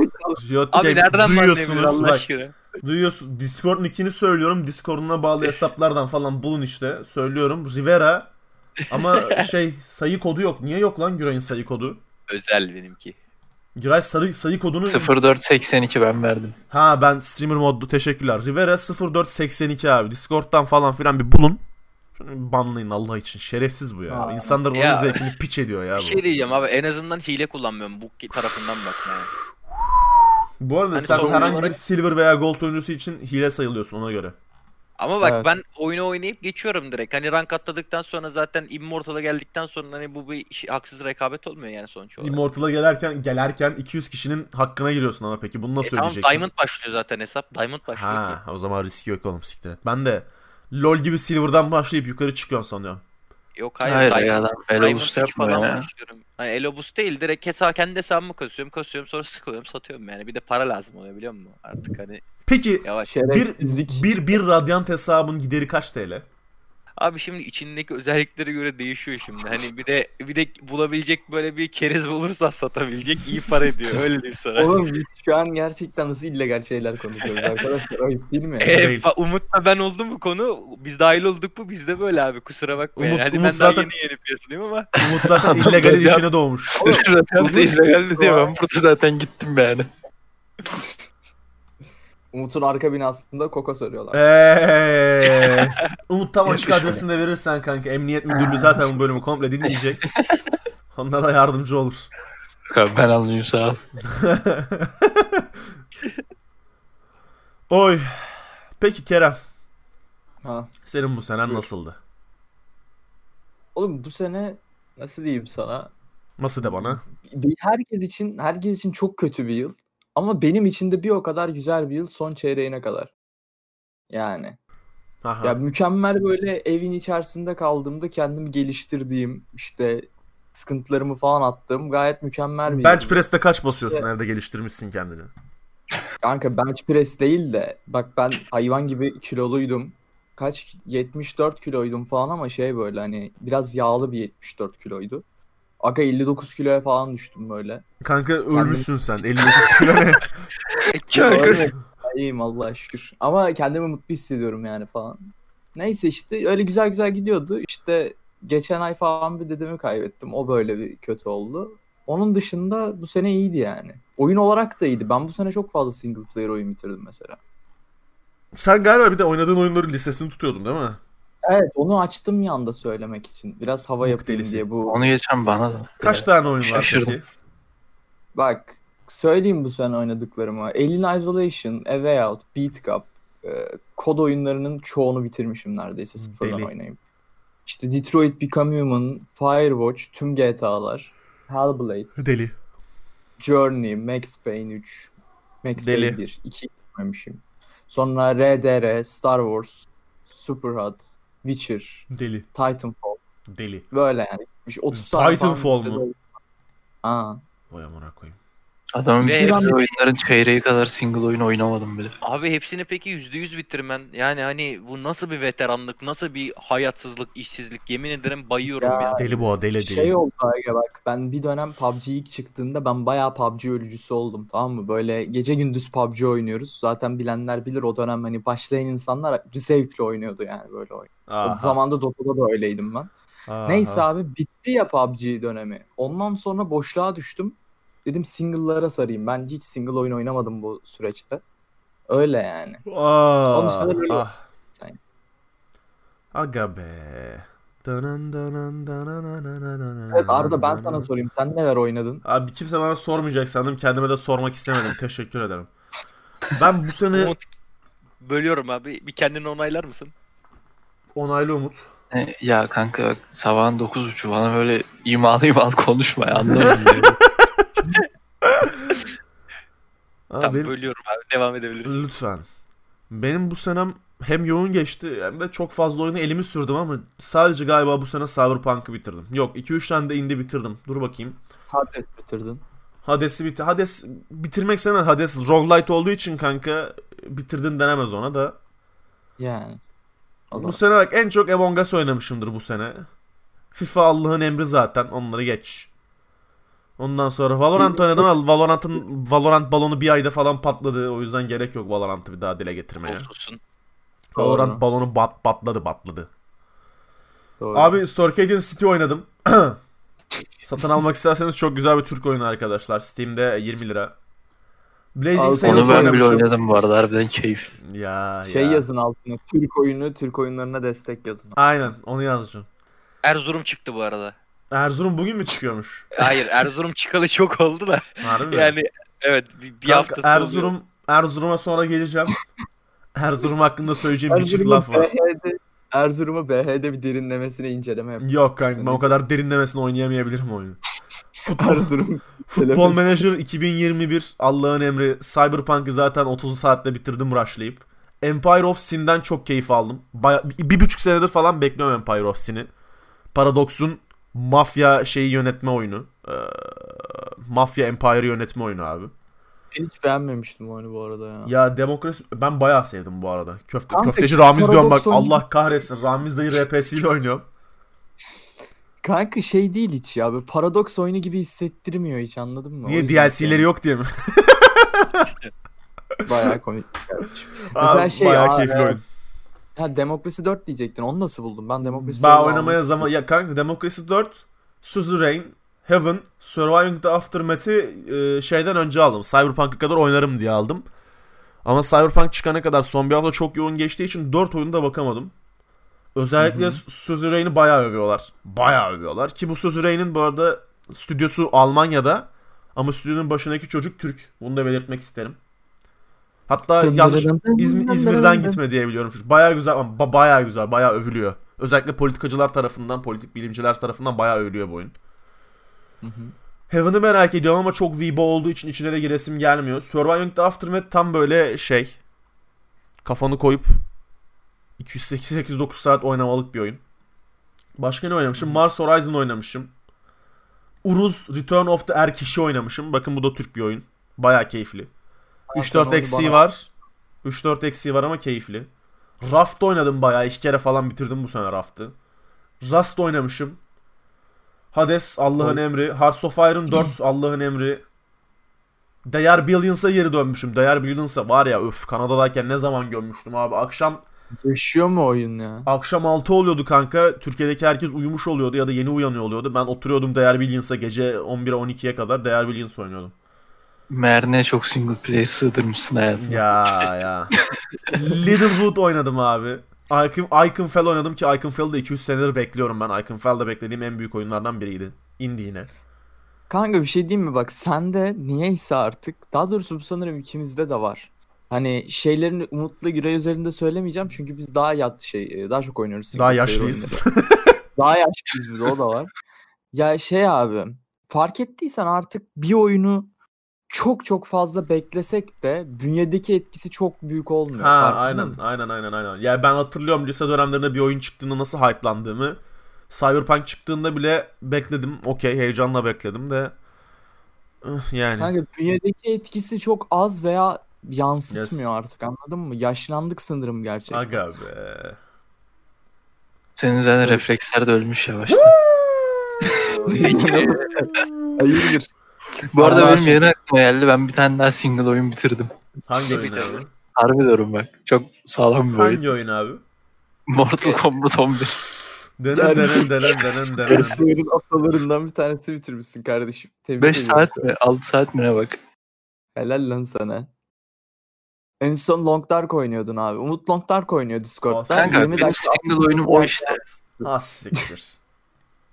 A: Riot
C: Abi
A: Games.
C: nereden
A: duyuyorsunuz.
C: anlayabilir Allah
A: bak,
C: aşkına?
A: duyuyorsun. Discord nickini söylüyorum. Discord'una bağlı hesaplardan falan bulun işte. Söylüyorum. Rivera. Ama şey sayı kodu yok. Niye yok lan Güray'ın sayı kodu?
C: Özel benimki.
A: Giray sarı sayı kodunu
B: 0482 ben verdim.
A: Ha ben streamer modlu teşekkürler. Rivera 0482 abi. Discord'dan falan filan bir bulun. Şunu bir banlayın Allah için. Şerefsiz bu ya.
D: Aa.
A: İnsanlar onun
C: Ya.
A: zevkini piç ediyor ya.
C: Bir
A: bu.
C: şey diyeceğim abi en azından hile kullanmıyorum bu ki- tarafından bak. Yani.
A: Bu arada
C: Hani
A: sen
C: sonuç
A: herhangi bir
C: olarak-
A: silver veya gold oyuncusu için hile sayılıyorsun ona göre.
C: Ama bak
D: Evet.
C: ben oyunu oynayıp geçiyorum direkt. Hani rank atladıktan sonra zaten Immortal'a geldikten sonra hani bu bir şey- haksız rekabet olmuyor yani sonuç olarak.
A: Immortal'a gelerken gelerken 200 kişinin hakkına giriyorsun ama peki bunu nasıl
C: E tamam
A: ödeyeceksin?
C: Diamond başlıyor zaten hesap. Diamond başlıyor ki.
A: Ha o zaman riski yok oğlum siktir et. Ben de LoL gibi silver'dan başlayıp yukarı çıkıyorsun sanıyorum.
C: Yok hayır.
B: Hayır,
C: Diamond-
B: ya adam
C: Diamond
B: Elobus
C: üç
B: yapma
C: falan
B: ya.
C: başlıyorum. Hani Elobus değil direkt hesa kendi hesabımı kasıyorum kasıyorum sonra sıkılıyorum satıyorum yani. Bir de para lazım oluyor biliyor musun? Artık hani
A: Peki
C: yavaş.
D: Şey- Şerefsizlik.
A: bir, bir, bir radyant hesabın gideri kaç TL?
C: Abi şimdi içindeki özelliklere göre değişiyor şimdi. Hani bir de bir de bulabilecek böyle bir keriz bulursan satabilecek iyi para ediyor. Öyle diyeyim sana.
D: Oğlum biz şu an gerçekten nasıl illegal şeyler konuşuyoruz arkadaşlar. Ayıp değil mi?
C: Ee,
A: Değil.
C: ba- Umut'la ben oldum bu konu. Biz dahil olduk bu bizde böyle abi kusura bakma.
A: Umut-
C: yani. Hani
A: Umut
C: ben daha
A: zaten-
C: yeni yeni piyasadayım ama.
A: Umut zaten illegalin
B: Radyant-
A: içine doğmuş.
B: Radyan da
D: Umut-
B: illegaldi diye ben burada zaten gittim yani.
D: Umut'un arka binasında koko soruyorlar.
A: Eee. Umut tam açık
B: Yakışmadı.
A: adresini de verirsen kanka. Emniyet Müdürlüğü zaten bu bölümü komple dinleyecek. Onlara yardımcı olur.
B: Yok abi, ben anlıyorum sağ ol.
A: Oy. Peki Kerem,
D: Ha.
A: senin bu senen
D: Buyur.
A: nasıldı?
D: Oğlum bu sene nasıl diyeyim sana?
A: Nasıl de bana?
D: Bir- herkes için herkes için çok kötü bir yıl. Ama benim için de bir o kadar güzel bir yıl son çeyreğine kadar. Yani.
A: Aha.
D: Ya mükemmel böyle evin içerisinde kaldığımda kendimi geliştirdiğim işte sıkıntılarımı falan attığım gayet mükemmel bir
A: Bench
D: yıl.
A: press'te kaç basıyorsun evde geliştirmişsin kendini?
D: Kanka bench press değil de bak ben hayvan gibi kiloluydum. Kaç 74 kiloydum falan ama şey böyle hani biraz yağlı bir 74 kiloydu. Aga 59 kiloya falan düştüm böyle.
A: Kanka ölmüşsün sen. 59 kilo ne?
C: E,
D: Öyle- İyiyim Allah'a şükür. Ama kendimi mutlu hissediyorum yani falan. Neyse işte öyle güzel güzel gidiyordu. İşte geçen ay falan bir dedemi kaybettim. O böyle bir kötü oldu. Onun dışında bu sene iyiydi yani. Oyun olarak da iyiydi. Ben bu sene çok fazla single player oyun bitirdim mesela.
A: Sen galiba bir de oynadığın oyunların listesini tutuyordun değil mi?
D: Evet onu açtım yanda söylemek için. Biraz hava yapayım
A: delisi.
D: diye bu.
B: Onu geçen bana da.
A: Kaç tane oyun var
B: Şaşırdım.
A: peki?
D: Bak söyleyeyim bu sene oynadıklarımı. Alien Isolation, A Way Out, Beat Cup, e, kod oyunlarının çoğunu bitirmişim neredeyse sıfırdan
A: Deli.
D: oynayıp. İşte Detroit Become Human, Firewatch, tüm GTA'lar, Hellblade,
A: Deli.
D: Journey, Max Payne 3, Max
A: Deli.
D: Payne 1, 2 oynamışım. Sonra RDR, Star Wars, Superhot, Witcher,
A: Deli.
D: Titanfall
A: Deli.
D: böyle yani. 30 tane falan
A: Titanfall
D: listede
A: mu?
D: oyun- Aa,
A: Vay amına koyayım.
B: Adamın
C: Ve-
B: bitirdiği oyunların çeyreği kadar single oyun oynamadım bile.
C: Abi hepsini peki %100 bitirmen. Yani hani bu nasıl bir veteranlık, nasıl bir hayatsızlık, işsizlik. Yemin ederim bayıyorum ya.
D: Ya.
A: Deli bu ha, deli deli.
D: Şey oldu aga bak ben bir dönem PUBG ilk çıktığında ben bayağı PUBG ölücüsü oldum tamam mı? Böyle gece gündüz PUBG oynuyoruz. Zaten bilenler bilir o dönem hani başlayan insanlar zevkle oynuyordu yani böyle oyun.
A: Aha,
D: O zamanda Dota'da da öyleydim ben.
A: aha.
D: Neyse abi bitti ya PUBG dönemi. Ondan sonra boşluğa düştüm. Dedim single'lara sarayım. Ben hiç single oyun oynamadım bu süreçte. Öyle yani.
A: Aa,
D: Onun üstüne böyle-
A: ah. Aga Ah. be. Danan danan danan danan
D: Evet Arda ben
A: danan
D: sana
A: danan.
D: sorayım. Sen neler oynadın?
A: Abi kimse bana sormayacak sandım. Kendime de sormak istemedim. Teşekkür ederim. Ben bu sene
C: Umut bölüyorum abi. Bir kendini onaylar mısın?
A: onaylı Umut.
B: E, ya kanka bak, sabahın 9.30 bana böyle imalı imalı konuşma ya anlamadım. ya.
A: Aa,
C: tamam
A: benim-
C: bölüyorum abi. Devam edebiliriz.
A: Lütfen. Benim bu senem hem yoğun geçti hem de çok fazla oyunu elimi sürdüm ama sadece galiba bu sene Cyberpunk'ı bitirdim. Yok 2-3 tane de indie bitirdim. Dur bakayım.
D: Hades bitirdin.
A: Hades'i bit Hades bitirmek istemem. Hades roguelite olduğu için kanka bitirdin denemez ona da.
D: Yani. O
A: Bu
D: da-
A: sene bak en çok Among Us oynamışımdır bu sene. FIFA Allah'ın emri zaten. Onları geç. Ondan sonra Valorant oynadım ama Valorant'ın Valorant balonu bir ayda falan patladı. O yüzden gerek yok Valorant'ı bir daha dile getirmeye.
C: Olsun.
A: Valorant
D: Doğru.
A: balonu bat, batladı batladı.
D: Doğru.
A: Abi Storkade'in City oynadım. Satın almak isterseniz çok güzel bir Türk oyunu arkadaşlar. Steam'de 20 lira.
D: Al,
A: Blazing Sails
B: Onu ben bile
A: oynamışım.
B: oynadım bu arada harbiden keyif.
A: Ya
D: şey
A: ya.
D: yazın altına. Türk oyunu, Türk oyunlarına destek yazın.
A: Aynen onu yazacağım.
C: Erzurum çıktı bu arada.
A: Erzurum bugün mü çıkıyormuş?
C: Hayır Erzurum çıkalı çok oldu da.
A: Harbi mi?
C: Yani evet bir, bir
A: Kanka,
C: haftası
A: Erzurum
C: oluyor.
A: Erzurum'a sonra geleceğim. Erzurum hakkında söyleyeceğim bir çift laf var.
D: BH'de, Erzurum'a BH'de bir derinlemesine inceleme yap.
A: Yok kanka ben o kadar derinlemesine oynayamayabilirim oyunu. Futbol,
D: Erzurum.
A: Futbol
D: Telefon-
A: Manager 2021 Allah'ın emri. Cyberpunk'ı zaten 30 saatte bitirdim rushlayıp. Empire of Sin'den çok keyif aldım. Baya, bir, bir buçuk senedir falan bekliyorum Empire of Sin'i. Paradox'un mafya şeyi yönetme oyunu. Ee, mafya Empire'ı yönetme oyunu abi.
D: Hiç beğenmemiştim oyunu bu arada ya.
A: Ya demokrasi ben bayağı sevdim bu arada. Köfte,
D: Kanka,
A: köfteci Ramiz diyorum bak
D: Paradox oyunu-
A: Allah kahretsin. Ramiz dayı RP'siyle oynuyorum.
D: Kanka şey değil hiç ya. Böyle paradoks oyunu gibi hissettirmiyor hiç anladın mı? O
A: Niye
D: yüzden
A: DLC'leri yok diye mi?
D: Bayağı komik. Mesela
A: Abi,
D: şey,
A: bayağı
D: aa,
A: keyifli
D: e,
A: oyun.
D: Ha Demokrasi 4 diyecektin. Onu nasıl buldun? Ben Demokrasi
A: Ben
D: 4'ü
A: oynamaya
D: almak-
A: zaman ya kanka Democracy 4, Suzerain, Heaven, Surviving the Aftermath'i e, şeyden önce aldım. Cyberpunk'a kadar oynarım diye aldım. Ama Cyberpunk çıkana kadar son bir hafta çok yoğun geçtiği için 4 oyunda bakamadım. Özellikle Suzerain'i bayağı övüyorlar. Bayağı övüyorlar ki bu Suzerain'in bu arada stüdyosu Almanya'da ama stüdyonun başındaki çocuk Türk. Bunu da belirtmek isterim. Hatta yanlış İzmir, İzmir'den gitme diye biliyorum. Çocuk Bayağı güzel ama ba- bayağı güzel, bayağı övülüyor. Özellikle politikacılar tarafından, politik bilimciler tarafından bayağı övülüyor bu oyun.
D: Hı hı.
A: Heaven'ı merak ediyorum ama çok Vibo olduğu için içine de giresim gelmiyor. Surviving the Aftermath tam böyle şey. Kafanı koyup 208-9 saat oynamalık bir oyun. Başka ne oynamışım? Mars Horizon oynamışım. Uruz Return of the Erkiş'i oynamışım. Bakın bu da Türk bir oyun. Bayağı keyifli.
D: Tamam, sen
A: 3-4
D: onu
A: eksiği
D: bana-
A: var. 3-4 eksiği var ama keyifli. Raft oynadım bayağı. iki kere falan bitirdim bu sene Raft'ı. Rust oynamışım. Hades Allah'ın
D: Oy.
A: emri. Hearts of Iron 4 Allah'ın emri. Değer Billions'a geri dönmüşüm. Değer Billions'a var ya öf Kanada'dayken ne zaman görmüştüm abi. Akşam
D: Yaşıyor mu oyun ya?
A: akşam 6 oluyordu kanka. Türkiye'deki herkes uyumuş oluyordu ya da yeni uyanıyor oluyordu. Ben oturuyordum Değer Billions'a gece 11'e 12'ye kadar Değer Billions oynuyordum.
B: Meğer ne çok single player sığdırmışsın hayatına.
A: Ya ya. Littlewood oynadım abi. Icon, Iconfell oynadım ki Iconfell'ı da 200 senedir bekliyorum ben. Iconfell'da beklediğim en büyük oyunlardan biriydi. İndi yine.
D: Kanka bir şey diyeyim mi bak sende niyeyse artık daha doğrusu bu sanırım ikimizde de var. Hani şeylerin Umut'la Güray üzerinde söylemeyeceğim çünkü biz daha yat şey e, daha çok oynuyoruz. single
A: Daha
D: player
A: yaşlıyız.
D: oyunları. daha yaşlıyız bir de o da var. Ya şey abi fark ettiysen artık bir oyunu çok çok fazla beklesek de bünyedeki etkisi çok büyük olmuyor.
A: Ha
D: farkında
A: aynen
D: mısın?
A: aynen aynen aynen. Yani ben hatırlıyorum lise dönemlerinde bir oyun çıktığında nasıl hype'landığımı. Cyberpunk çıktığında bile bekledim. Okey heyecanla bekledim de. Üh, Yani.
D: Kanka bünyedeki etkisi çok az veya yansıtmıyor
A: Yes.
D: artık anladın mı? Yaşlandık sanırım gerçekten.
A: Aga be.
B: Senin zaten refleksler de ölmüş yavaştan.
C: Peki.
D: Hayırdır?
B: Bu arada
A: Allah
B: benim
A: aşkına.
B: yeni aklıma geldi. Ben bir tane daha single oyun bitirdim.
A: Hangi
C: Ne
A: oyun
C: bitirdin?
A: abi?
B: Harbi diyorum bak. Çok sağlam bir oyun.
A: Hangi oyun abi?
B: Mortal Kombat 11.
A: Denen
D: Yani-
A: denen denen denen denen.
D: Eskilerin atalarından bir tanesi bitirmişsin kardeşim. Tebrik
B: 5
D: ediyorum
B: saat
D: seni.
B: mi? 6 saat mi ne bak.
D: Helal lan sana. En son Long Dark oynuyordun abi. Umut Long Dark oynuyor Discord'da.
A: Kanka,
D: 20
B: Benim
D: dakika
B: single oyunum o işte.
A: Ha siktir.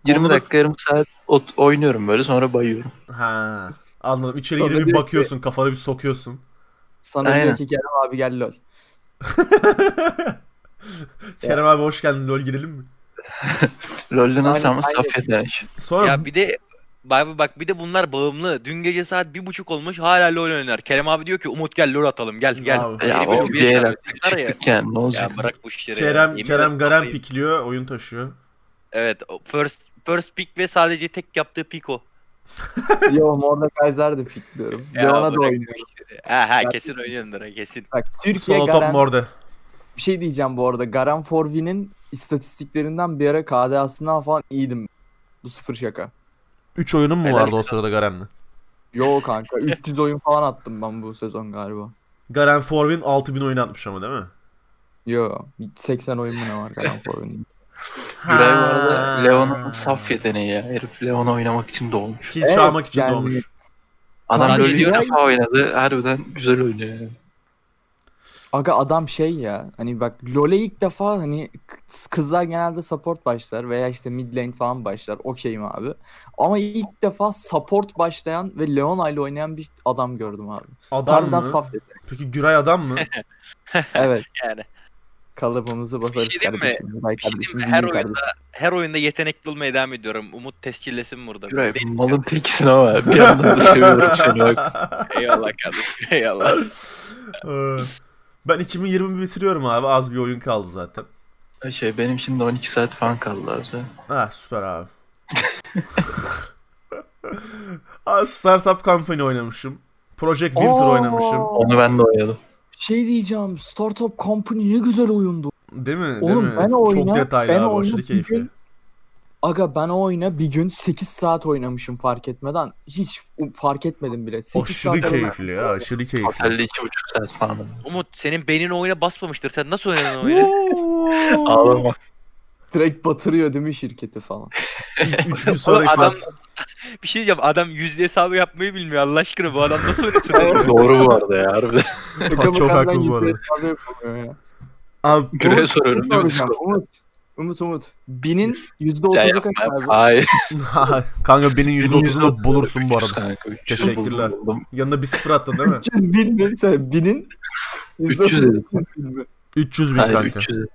B: 20
A: Ondan-
B: dakika yarım saat ot- oynuyorum böyle sonra bayıyorum.
A: Ha. Anladım. İçeri
D: Sonra
A: girip bir
D: direkt-
A: bakıyorsun, kafanı bir sokuyorsun.
D: Sana
B: Aynen.
D: diyor ki Kerem abi gel lol.
A: Kerem abi hoş geldin LoL girelim mi?
B: LoL'de nasıl
D: Aynen,
B: ama saf eder.
A: Sonra
C: Ya bir de bak bak bir de bunlar bağımlı. Dün gece saat bir buçuk olmuş hala LoL oynar. Kerem abi diyor ki Umut gel LoL atalım gel gel.
A: Abi.
B: Ya
C: Herif
B: o
C: öyle bir
B: bir
C: yaşar,
B: el
C: bir yaşar ya.
B: çıktık yani ne olacak?
C: Ya bırak bu işleri. ya.
A: Kerem,
C: Yemin
A: Kerem
C: ederim
A: Garen
C: kafayı-
A: pikliyor, oyun taşıyor.
C: Evet o first first pick ve sadece tek yaptığı pick o.
D: Yo Morda Kaiser de pikliyorum. Ve
C: Ya
D: ona da
C: bırak bu
D: oynuyorum.
C: işleri. Ha ha kesin oynuyordur ha kesin.
D: Bak Türkiye
A: Solo top
D: Garen
A: morde.
D: bir şey diyeceğim bu arada. Garen Forvin'in istatistiklerinden bir ara KDA'sından falan iyiydim. Bu sıfır şaka.
A: 3 oyunun mu
C: Helal
A: vardı o sırada Garen'le?
D: Yo kanka 300 oyun falan attım ben bu sezon galiba.
A: Garen Forvin 6000 oyun atmış ama değil mi?
D: Yo 80 oyun mu ne var Garen Forvin'in?
B: Güray bu arada Leon'un saf yeteneği ya. Herif Leon oynamak için doğmuş.
A: Kill
D: Evet,
A: çalmak için
D: yani-
A: doğmuş.
B: Adam
C: Sadece
B: LoL'ü ilk
C: Leon-
B: defa oynadı. Harbiden güzel oynuyor yani.
D: Aga adam şey ya hani bak LoL'e ilk defa hani kız- kızlar genelde support başlar veya işte mid lane falan başlar okeyim abi. Ama ilk defa support başlayan ve Leona ile oynayan bir adam gördüm abi.
A: Adam
D: Harbiden
A: mı?
D: saf dedi.
A: Peki Güray adam mı?
D: Evet
C: Yani
D: kalıbımızı basarız
C: şey diyeyim mi?
D: kardeşim. Vay
C: Bir şey diyeyim mi?
D: kardeşim,
C: Her
D: iyi
C: oyunda
D: kardeşim.
C: her oyunda yetenekli olmaya devam ediyorum. Umut tescillesin burada.
B: Güray
C: Değil mi?
B: malın tekisin ama bir yandan da seviyorum seni bak.
C: Eyvallah kardeşim. Eyvallah.
A: Ee, ben 2020 bitiriyorum abi. Az bir oyun kaldı zaten.
B: Şey benim şimdi 12 saat falan kaldı abi. sen.
A: Ha Ah, süper abi. Abi Startup Company oynamışım. Project Winter
D: Aa!
A: oynamışım.
B: Onu ben de oynadım.
D: Şey diyeceğim Startup Company ne güzel oyundu.
A: Değil mi? Değil
D: Oğlum
A: mi?
D: ben o
A: Çok
D: oyuna-
A: detaylı
D: ben o
A: abi.
D: oyuna
A: Aşırı
D: bir
A: keyifli.
D: gün- Aga ben o oyuna bir gün 8 saat oynamışım fark etmeden. Hiç fark etmedim bile. 8
A: Aşırı
D: saat oynadım.
A: keyifli ya. Aşırı keyifli.
B: Otelde 2,5 saat falan.
C: Umut senin beynin o oyuna basmamıştır. Sen nasıl oynadın o oyunu?
B: Ağlama.
D: Direkt batırıyor değil mi şirketi falan.
A: Üç gün sonra
C: Oğlum adam-
A: iflas.
C: Bir şey diyeceğim. Adam yüzde hesabı yapmayı bilmiyor. Allah aşkına bu adam nasıl oynasın? oyunu?
B: Doğru bu arada ya harbiden.
A: Çok
D: Bakan
A: haklı
D: bakan
A: bu arada.
D: yüzde hesabı yapamıyor ya.
A: Abi,
B: Güray'a
D: Umut,
B: soruyorum değil mi
D: Soracağım,
B: Discord?
D: Umut. Umut Umut. Binin
B: Biz- Ya
D: %30'u kaç
B: yapma,
D: abi?
B: Hayır.
A: kanka benim %30'unu bulursun bu arada.
B: Kanka, 300
A: Teşekkürler.
B: buldum, buldum.
A: Yanına bir sıfır attın değil mi?
D: 300 bin mi? Sen binin
B: 300 dedim.
D: %30'u bin mi?
A: 300 bin
B: Hayır
A: kanka.
B: 300.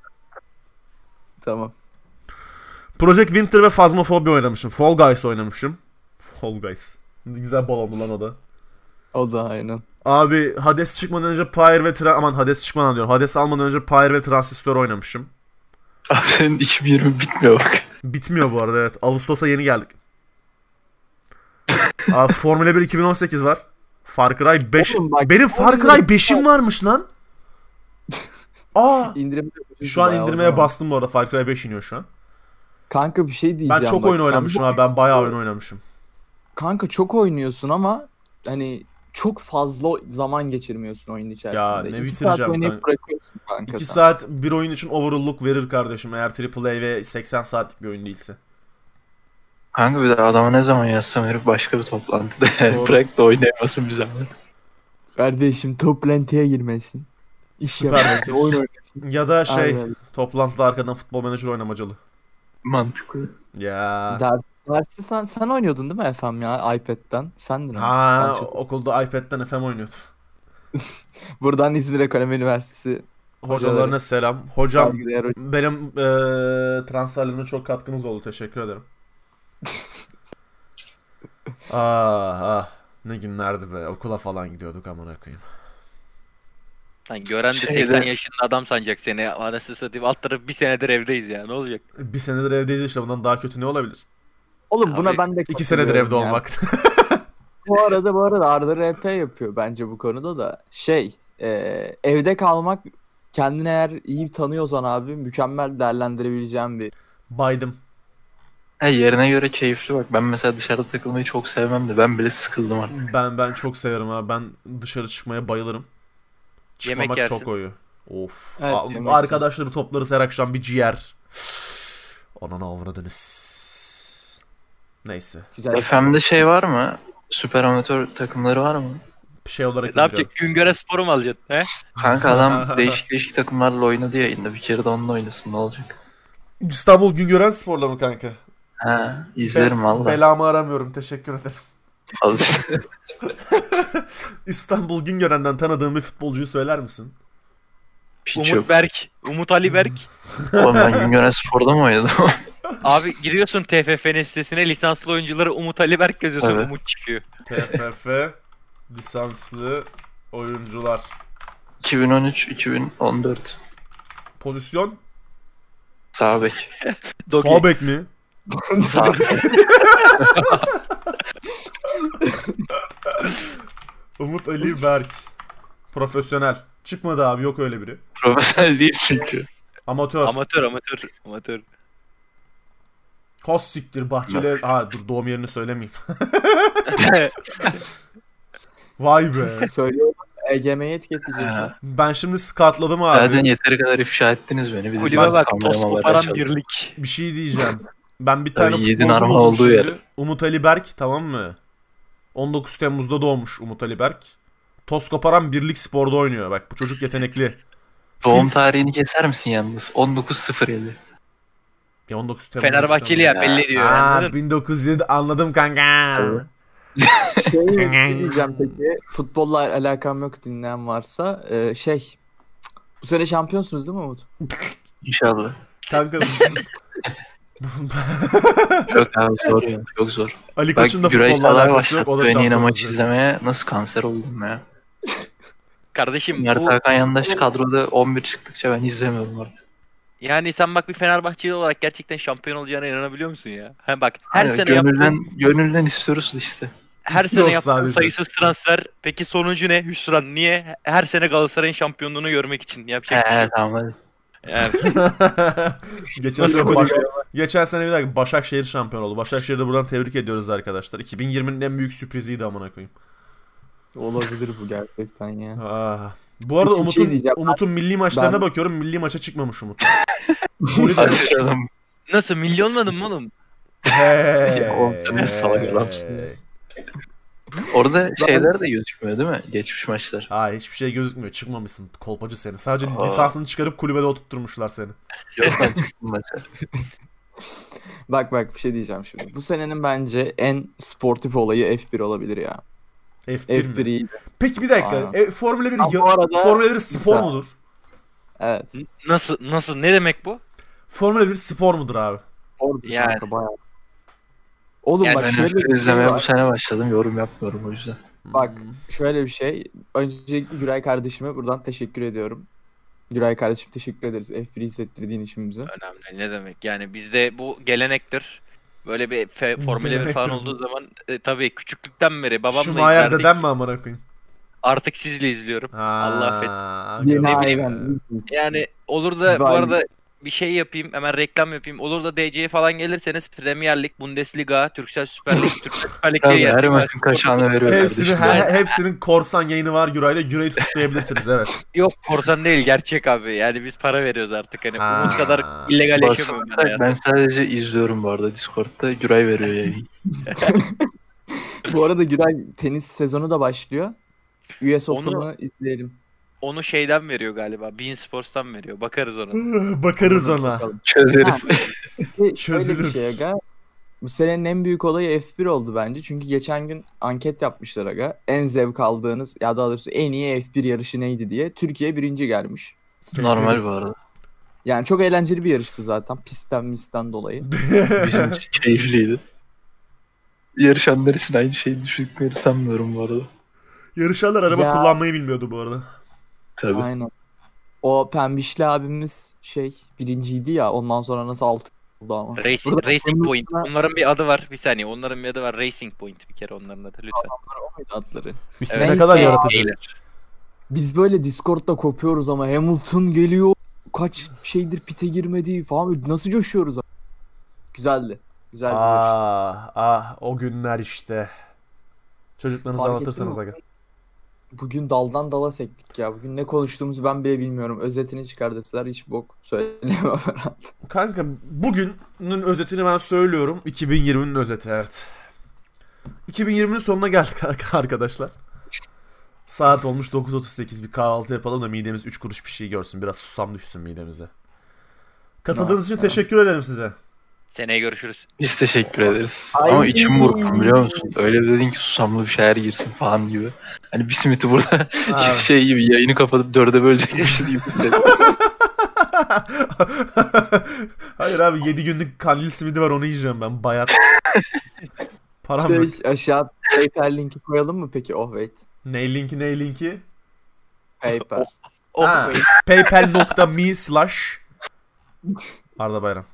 D: Tamam.
A: Project Winter ve Phasmophobia oynamışım. Fall Guys oynamışım. Fall Guys. Güzel bal oldu lan o da.
D: O da aynen.
A: Abi Hades çıkmadan önce Pyre ve Tra aman Hades çıkmadan diyorum. Hades almadan önce Pyre ve Transistor oynamışım.
B: Abi senin 2020 bitmiyor bak.
A: Bitmiyor bu arada evet. Ağustos'a yeni geldik. Abi Formula 1 2018 var. Far Cry 5.
D: Oğlum bak,
A: Benim Far Cry 5'im varmış lan. Aa.
D: İndirim
A: Şu an
D: bayağı o
A: indirmeye
D: zaman.
A: bastım bu arada. Far Cry 5 iniyor şu an.
D: Kanka bir şey diyeceğim.
A: Ben çok
D: bak,
A: oyun
D: sen
A: oynamışım
D: bu-
A: abi. Ben bayağı oyun oynamışım.
D: Kanka çok oynuyorsun ama hani çok fazla zaman geçirmiyorsun oyun içerisinde.
A: ne
D: İki saat
A: bitireceğim
D: oynayıp
A: kanka?
D: bırakıyorsun kanka.
A: 2
D: sen.
A: saat bir oyun için overalluk verir kardeşim eğer AAA ve 80 saatlik bir oyun değilse.
B: Kanka bir de adama ne zaman yazsam herif başka bir toplantıda. Yani
A: Doğru.
B: bırak da oynayamasın bir zaman.
D: Kardeşim toplantıya girmesin. İş
A: Süper.
D: yapmasın, oyun oynasın.
A: Ya da şey
D: Aynen.
A: toplantıda arkadan futbol menajer oynamacalı.
B: Mantıklı.
A: Ya.
D: Ders, dersi sen sen oynuyordun değil mi efem ya iPad'den? Sendin ama.
A: Ha
D: Ben çok-
A: okulda iPad'den FM oynuyordum.
D: Buradan İzmir Ekonomi Üniversitesi
A: Hocalarına selam. Hocam
D: saygıdeğer hoca-
A: benim e, transferlerime çok katkınız oldu. Teşekkür ederim. ah, ah. Ne günlerdi be. Okula falan gidiyorduk amına koyayım.
C: Lan gören de
B: Şeyler-
C: 80 yaşında adam sanacak seni. Anasını satayım alt tarafı bir senedir evdeyiz ya. Ne olacak?
A: Bir senedir evdeyiz işte. Bundan daha kötü ne olabilir?
D: Oğlum buna
C: Abi,
D: ben de
A: İki senedir
D: katılıyorum
A: evde
D: ya.
A: olmak.
D: Bu arada bu arada Arda RP yapıyor bence bu konuda da. Şey, e, evde kalmak kendini eğer iyi tanıyorsan abi mükemmel değerlendirebileceğin bir
A: Baydım.
B: Ha, E, yerine göre keyifli bak. Ben mesela dışarıda takılmayı çok sevmem de ben bile sıkıldım artık.
A: Ben ben çok severim abi. Ben dışarı çıkmaya bayılırım. Çıkmamak
C: Yemek yersin.
A: çok oyu. Of.
D: Evet,
A: Aa,
D: yemek yersin.
A: arkadaşları toplarız her akşam bir ciğer. Ananı avradınız. Neyse.
D: güzel.
B: FM'de şey var mı? Süper amatör takımları var mı?
A: Bir şey olarak
C: ne
A: izliyorum.
C: yapacak? Güngöre sporu mu alacaksın? He?
B: Kanka adam değişik değişik takımlarla oynadı yayında. Bir kere de onunla oynasın ne olacak?
A: İstanbul Güngören Spor'la mı kanka?
B: Ha, izlerim valla.
A: Belamı aramıyorum. Teşekkür ederim.
B: Al işte.
A: İstanbul Güngören'den tanıdığım bir futbolcuyu söyler misin?
B: Hiç yok.
C: Umut Berk. Umut Ali Berk.
B: Oğlum ben Güngören Spor'da mı oynadım?
C: Abi giriyorsun TFF'nin sitesine lisanslı oyuncuları Umut Ali Berk yazıyorsun
B: Evet.
C: Umut çıkıyor.
A: TFF lisanslı oyuncular.
B: 2013-2014.
A: Pozisyon?
B: Sağ bek.
C: Dogi.
A: Sağ bek mi?
B: Sağ bek.
A: Umut Ali Berk. Profesyonel. Çıkmadı abi yok öyle biri.
B: Profesyonel değil çünkü.
A: Amatör.
C: Amatör amatör amatör.
A: Kos siktir bahçeli. Ha dur doğum yerini söylemeyeyim. Vay be.
D: şey. Söylüyorum. ECM'ye etiketleyeceğiz.
B: Ha.
D: lan.
A: Ben şimdi skatladım abi.
B: Zaten yeteri kadar ifşa ettiniz beni. Bizim
C: Kulübe bak toz
B: kameramanlara
C: koparan
B: çalın.
C: birlik.
A: Bir şey diyeceğim. Ben bir tane
B: Tabii yiğidin
A: futbolcu
B: arma
A: buldum
B: olduğu
A: şimdi.
B: yer.
A: Umut Ali Berk tamam mı? 19 Temmuz'da doğmuş Umut Ali Berk. Toz koparan birlik sporda oynuyor. Bak bu çocuk yetenekli.
B: Doğum tarihini keser misin yalnız? 19.07.
A: Ya 19 Temmuz.
C: Fenerbahçeli
B: Ya.
C: ya belli diyor.
A: Aa,
C: anladın?
A: 1907 anladım kanka.
B: Evet.
D: Şey bir şey diyeceğim peki. Futbolla alakam yok dinleyen varsa. e, şey. cık, Bu sene şampiyonsunuz değil mi Umut?
B: İnşallah.
A: Kanka
B: Yok abi zor ya. Çok zor.
A: Ali
B: Bak
A: Koç'un da
B: Güray
A: futbolla
B: Salar
A: alakası yok.
B: başlattı
A: O da
B: beni yine
A: şampiyon
B: maç
A: olacak.
B: izlemeye. Nasıl kanser oldum ya?
C: Kardeşim
B: Mert
C: bu
B: Hakan yandaş kadroda 11 çıktıkça ben izlemiyorum artık.
C: yani sen bak bir Fenerbahçeli olarak gerçekten şampiyon olacağına inanabiliyor musun ya? Ha bak her
B: Hani
C: sene
B: gönülden,
C: yaptığın,
B: gönülden istiyoruz da işte.
C: her
A: İstiyoruz
C: sene yaptığın
A: sadece.
C: sayısız transfer. Peki sonucu ne Hüsran? Niye? Her sene Galatasaray'ın şampiyonluğunu görmek için yapacak bir şey
B: He
C: yok.
B: tamam hadi.
C: Yani
A: geçen,
C: Nasıl
A: sene
C: konuş-
A: Baş- geçen sene bir dakika Başakşehir şampiyon oldu. Başakşehir'i de buradan tebrik ediyoruz arkadaşlar. 2020'nin en büyük sürpriziydi amına koyayım.
D: Olabilir bu gerçekten ya.
A: Ah. Bu arada
D: Peki bir şey
A: Umut'un
D: diyeceğim.
A: Umut'un milli maçlarına
D: Ben-
A: bakıyorum. Milli maça çıkmamış Umut.
B: Hadi canım.
C: Nasıl milyon olmadın mı oğlum?
A: Hey.
B: Ya oğlum, sen ne salak adamsın ya. Orada
D: Ben-
B: şeyler de gözükmüyor değil mi? Geçmiş maçlar.
A: Aa hiçbir şey gözükmüyor. Çıkmamışsın kolpacı seni. Sadece
B: Aa.
A: lisansını çıkarıp kulübede oturtturmuşlar seni.
B: Yok ben çıktım maça.
D: Bak bak bir şey diyeceğim şimdi. Bu senenin bence en sportif olayı F1 olabilir ya.
A: F1,
D: F1
A: mi?
D: iyi.
A: Peki bir dakika.
D: Aynen.
A: E, Formula 1
D: Ama
A: ya-
D: bu arada-
A: Formula 1 spor
D: Lisa.
A: mudur?
D: Evet.
C: Nasıl nasıl ne demek bu?
A: Formula 1 spor mudur abi?
D: Spordur
C: Yani.
D: kanka bayağı. Oğlum
C: Yani
D: bak
B: Ben
D: şöyle
B: F1
D: bir şey
B: izlemeye bu
D: var.
B: sene başladım. Yorum yapmıyorum o yüzden.
D: Bak.
C: Hmm.
D: Şöyle bir şey. Öncelikle Güray kardeşime buradan teşekkür ediyorum. Güray kardeşim teşekkür ederiz F1 izlettirdiğin için bize.
C: Önemli ne demek? Yani bizde bu gelenektir. Böyle bir fe, Formula 1
A: Gelenektir.
C: falan olduğu zaman e, tabii küçüklükten beri
A: Babam
C: babamla
A: Şu Mayer
C: izlerdik.
A: dedem mi amına koyayım?
C: Artık sizle izliyorum. Allah
A: affet.
D: Yeni
C: ne bileyim. e,
D: hayvan.
C: Yani olur da bu
D: Vay.
C: arada bir şey yapayım hemen reklam yapayım. Olur da DC'ye falan gelirseniz Premier Lig, Bundesliga, Türksel Süper Lig, Türksel Süper Lig diye
B: Tabii her
C: yer.
B: maçın kaşağını veriyor
A: Hepsinin,
B: kardeşim.
A: he- hepsinin korsan yayını var Güray'la. Güray'ı tutuklayabilirsiniz evet.
C: Yok korsan değil gerçek abi. Yani biz para veriyoruz artık hani
A: Ha.
C: umut kadar illegal yaşamıyorum
B: Basılırsak
C: ben hayatımda.
B: ben sadece izliyorum bu arada Discord'da. Güray veriyor yayını.
D: Bu arada Güray tenis sezonu da başlıyor. US
C: Onu-
D: Open'ı izleyelim.
C: Onu şeyden veriyor galiba. Bein Sports'tan veriyor. Bakarız
A: Hmm.
C: ona.
A: Bakarız ona.
B: Çözeriz.
D: Şöyle
A: Çözülür.
D: bir şey aga. Bu senenin en büyük olayı F1 oldu bence. Çünkü geçen gün anket yapmışlar aga. En zevk aldığınız ya daha doğrusu en iyi F1 yarışı neydi diye. Türkiye birinci gelmiş.
B: Normal bu arada.
D: Yani çok eğlenceli bir yarıştı zaten pistten misten dolayı.
B: Bizim için keyifliydi. Yarışanlar için aynı şeyi düşündüklerini sanmıyorum bu arada.
A: Yarışanlar araba
D: Ya.
A: kullanmayı bilmiyordu bu arada.
B: Tabii.
D: Aynen. O pembişli abimiz şey birinciydi ya ondan sonra nasıl altı oldu ama.
C: Racing,
D: Burada
C: Racing
D: bunun
C: Point.
D: üstüne-
C: Onların bir adı var. Bir saniye. Onların bir adı var. Racing Point bir kere onların adı lütfen.
D: Adları.
A: Biz
C: Evet.
A: ne kadar
D: Neyse ya.
A: yaratıcı.
C: Beyler.
D: Biz böyle Discord'da kopuyoruz ama Hamilton geliyor. Kaç şeydir pite girmediği falan. Nasıl coşuyoruz? abi. Güzeldi. Güzel bir yarıştı.
A: Ah ah o günler işte. Çocuklarınızı
D: Fark
A: anlatırsanız
D: ettin
A: aga.
D: mi? Bugün daldan dala sektik ya. Bugün ne konuştuğumuzu ben bile bilmiyorum. Özetini çıkar deseler hiç bok söyleyemem herhalde.
A: Kanka bugünün özetini ben söylüyorum. 2020'nin özeti evet. 2020'nin sonuna geldik ar- arkadaşlar. Saat olmuş 9.38 bir kahvaltı yapalım da midemiz 3 kuruş bir şey görsün. Biraz susam düşsün midemize. Katıldığınız için
D: Ha.
A: teşekkür ederim size.
C: Seneye görüşürüz.
B: Biz teşekkür ederiz.
D: Ay.
B: Ama içim burkun biliyor musun? Öyle bir dedin ki susamlı bir şeyler girsin falan gibi. Hani bir simiti burada
A: Abi.
B: şey gibi yayını kapatıp dörde bölecekmişiz gibi hissettim.
A: Hayır abi 7 günlük kandil simidi var onu yiyeceğim ben bayat. Param yok.
D: Şey, aşağı PayPal linki koyalım mı peki? Oh wait.
A: Ne linki ne linki?
D: PayPal.
C: Oh,
A: Ha.
C: wait.
A: Paypal.me slash Arda Bayram.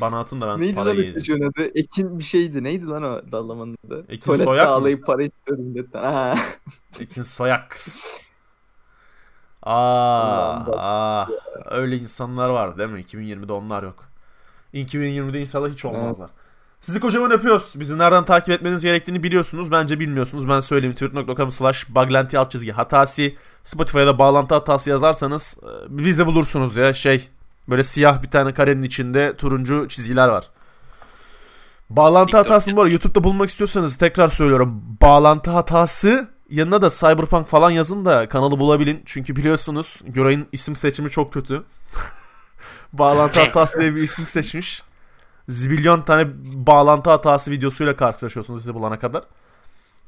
A: Bana atın da ben
D: Neydi
A: parayı
D: lan o
A: yiyeceğim.
D: çocuğun adı? Ekin bir şeydi. Neydi lan o dallamanın adı?
A: Ekin
D: Tuvalette
A: Soyak mı?
D: ağlayıp para istiyorum milletten. Ha.
A: İkin soyak kız. Aa,
D: Ulan bak
A: aa, ah. öyle insanlar var değil mi? 2020'de onlar yok. 2020'de inşallah hiç olmazlar. Sizi kocaman öpüyoruz. Bizi nereden takip etmeniz gerektiğini biliyorsunuz. Bence bilmiyorsunuz. Ben söyleyeyim. Twitter.com slash baglenti alt çizgi hatasi. Spotify'da bağlantı hatası yazarsanız e, bizi bulursunuz ya. Şey böyle siyah bir tane karenin içinde turuncu çizgiler var. Bağlantı
C: TikTok.
A: hatasını bu arada YouTube'da bulmak istiyorsanız tekrar söylüyorum. Bağlantı hatası yanına da Cyberpunk falan yazın da kanalı bulabilin. Çünkü biliyorsunuz Göray'ın isim seçimi çok kötü. bağlantı hatası diye bir isim seçmiş. Zibilyon tane bağlantı hatası videosuyla karşılaşıyorsunuz sizi bulana kadar.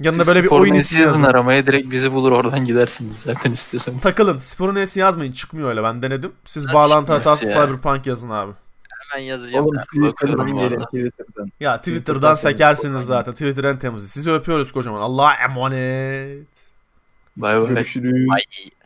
A: Yanına böyle bir
B: Sporun
A: oyun
B: nesi
A: ismi yazın.
B: aramaya direkt bizi bulur oradan gidersiniz zaten istiyorsanız.
A: Takılın. Sporun E'si yazmayın. Çıkmıyor öyle. Ben denedim. Siz
C: Nasıl
A: bağlantı
B: çıkmaz
A: hatası
B: ya?
A: Cyberpunk yazın abi.
C: Hemen yazacağım.
D: Oğlum Twitter'dan
B: bakıyorum bu
D: gelin
B: arada.
D: Twitter'dan.
A: Ya
D: Twitter'dan
A: Twitter'dan
D: temiz,
A: sekersiniz
D: Spotify'dan.
A: zaten. Twitter en temizi. Sizi öpüyoruz kocaman. Allah'a emanet.
B: Bay bay.
D: Görüşürüz.
C: Ay.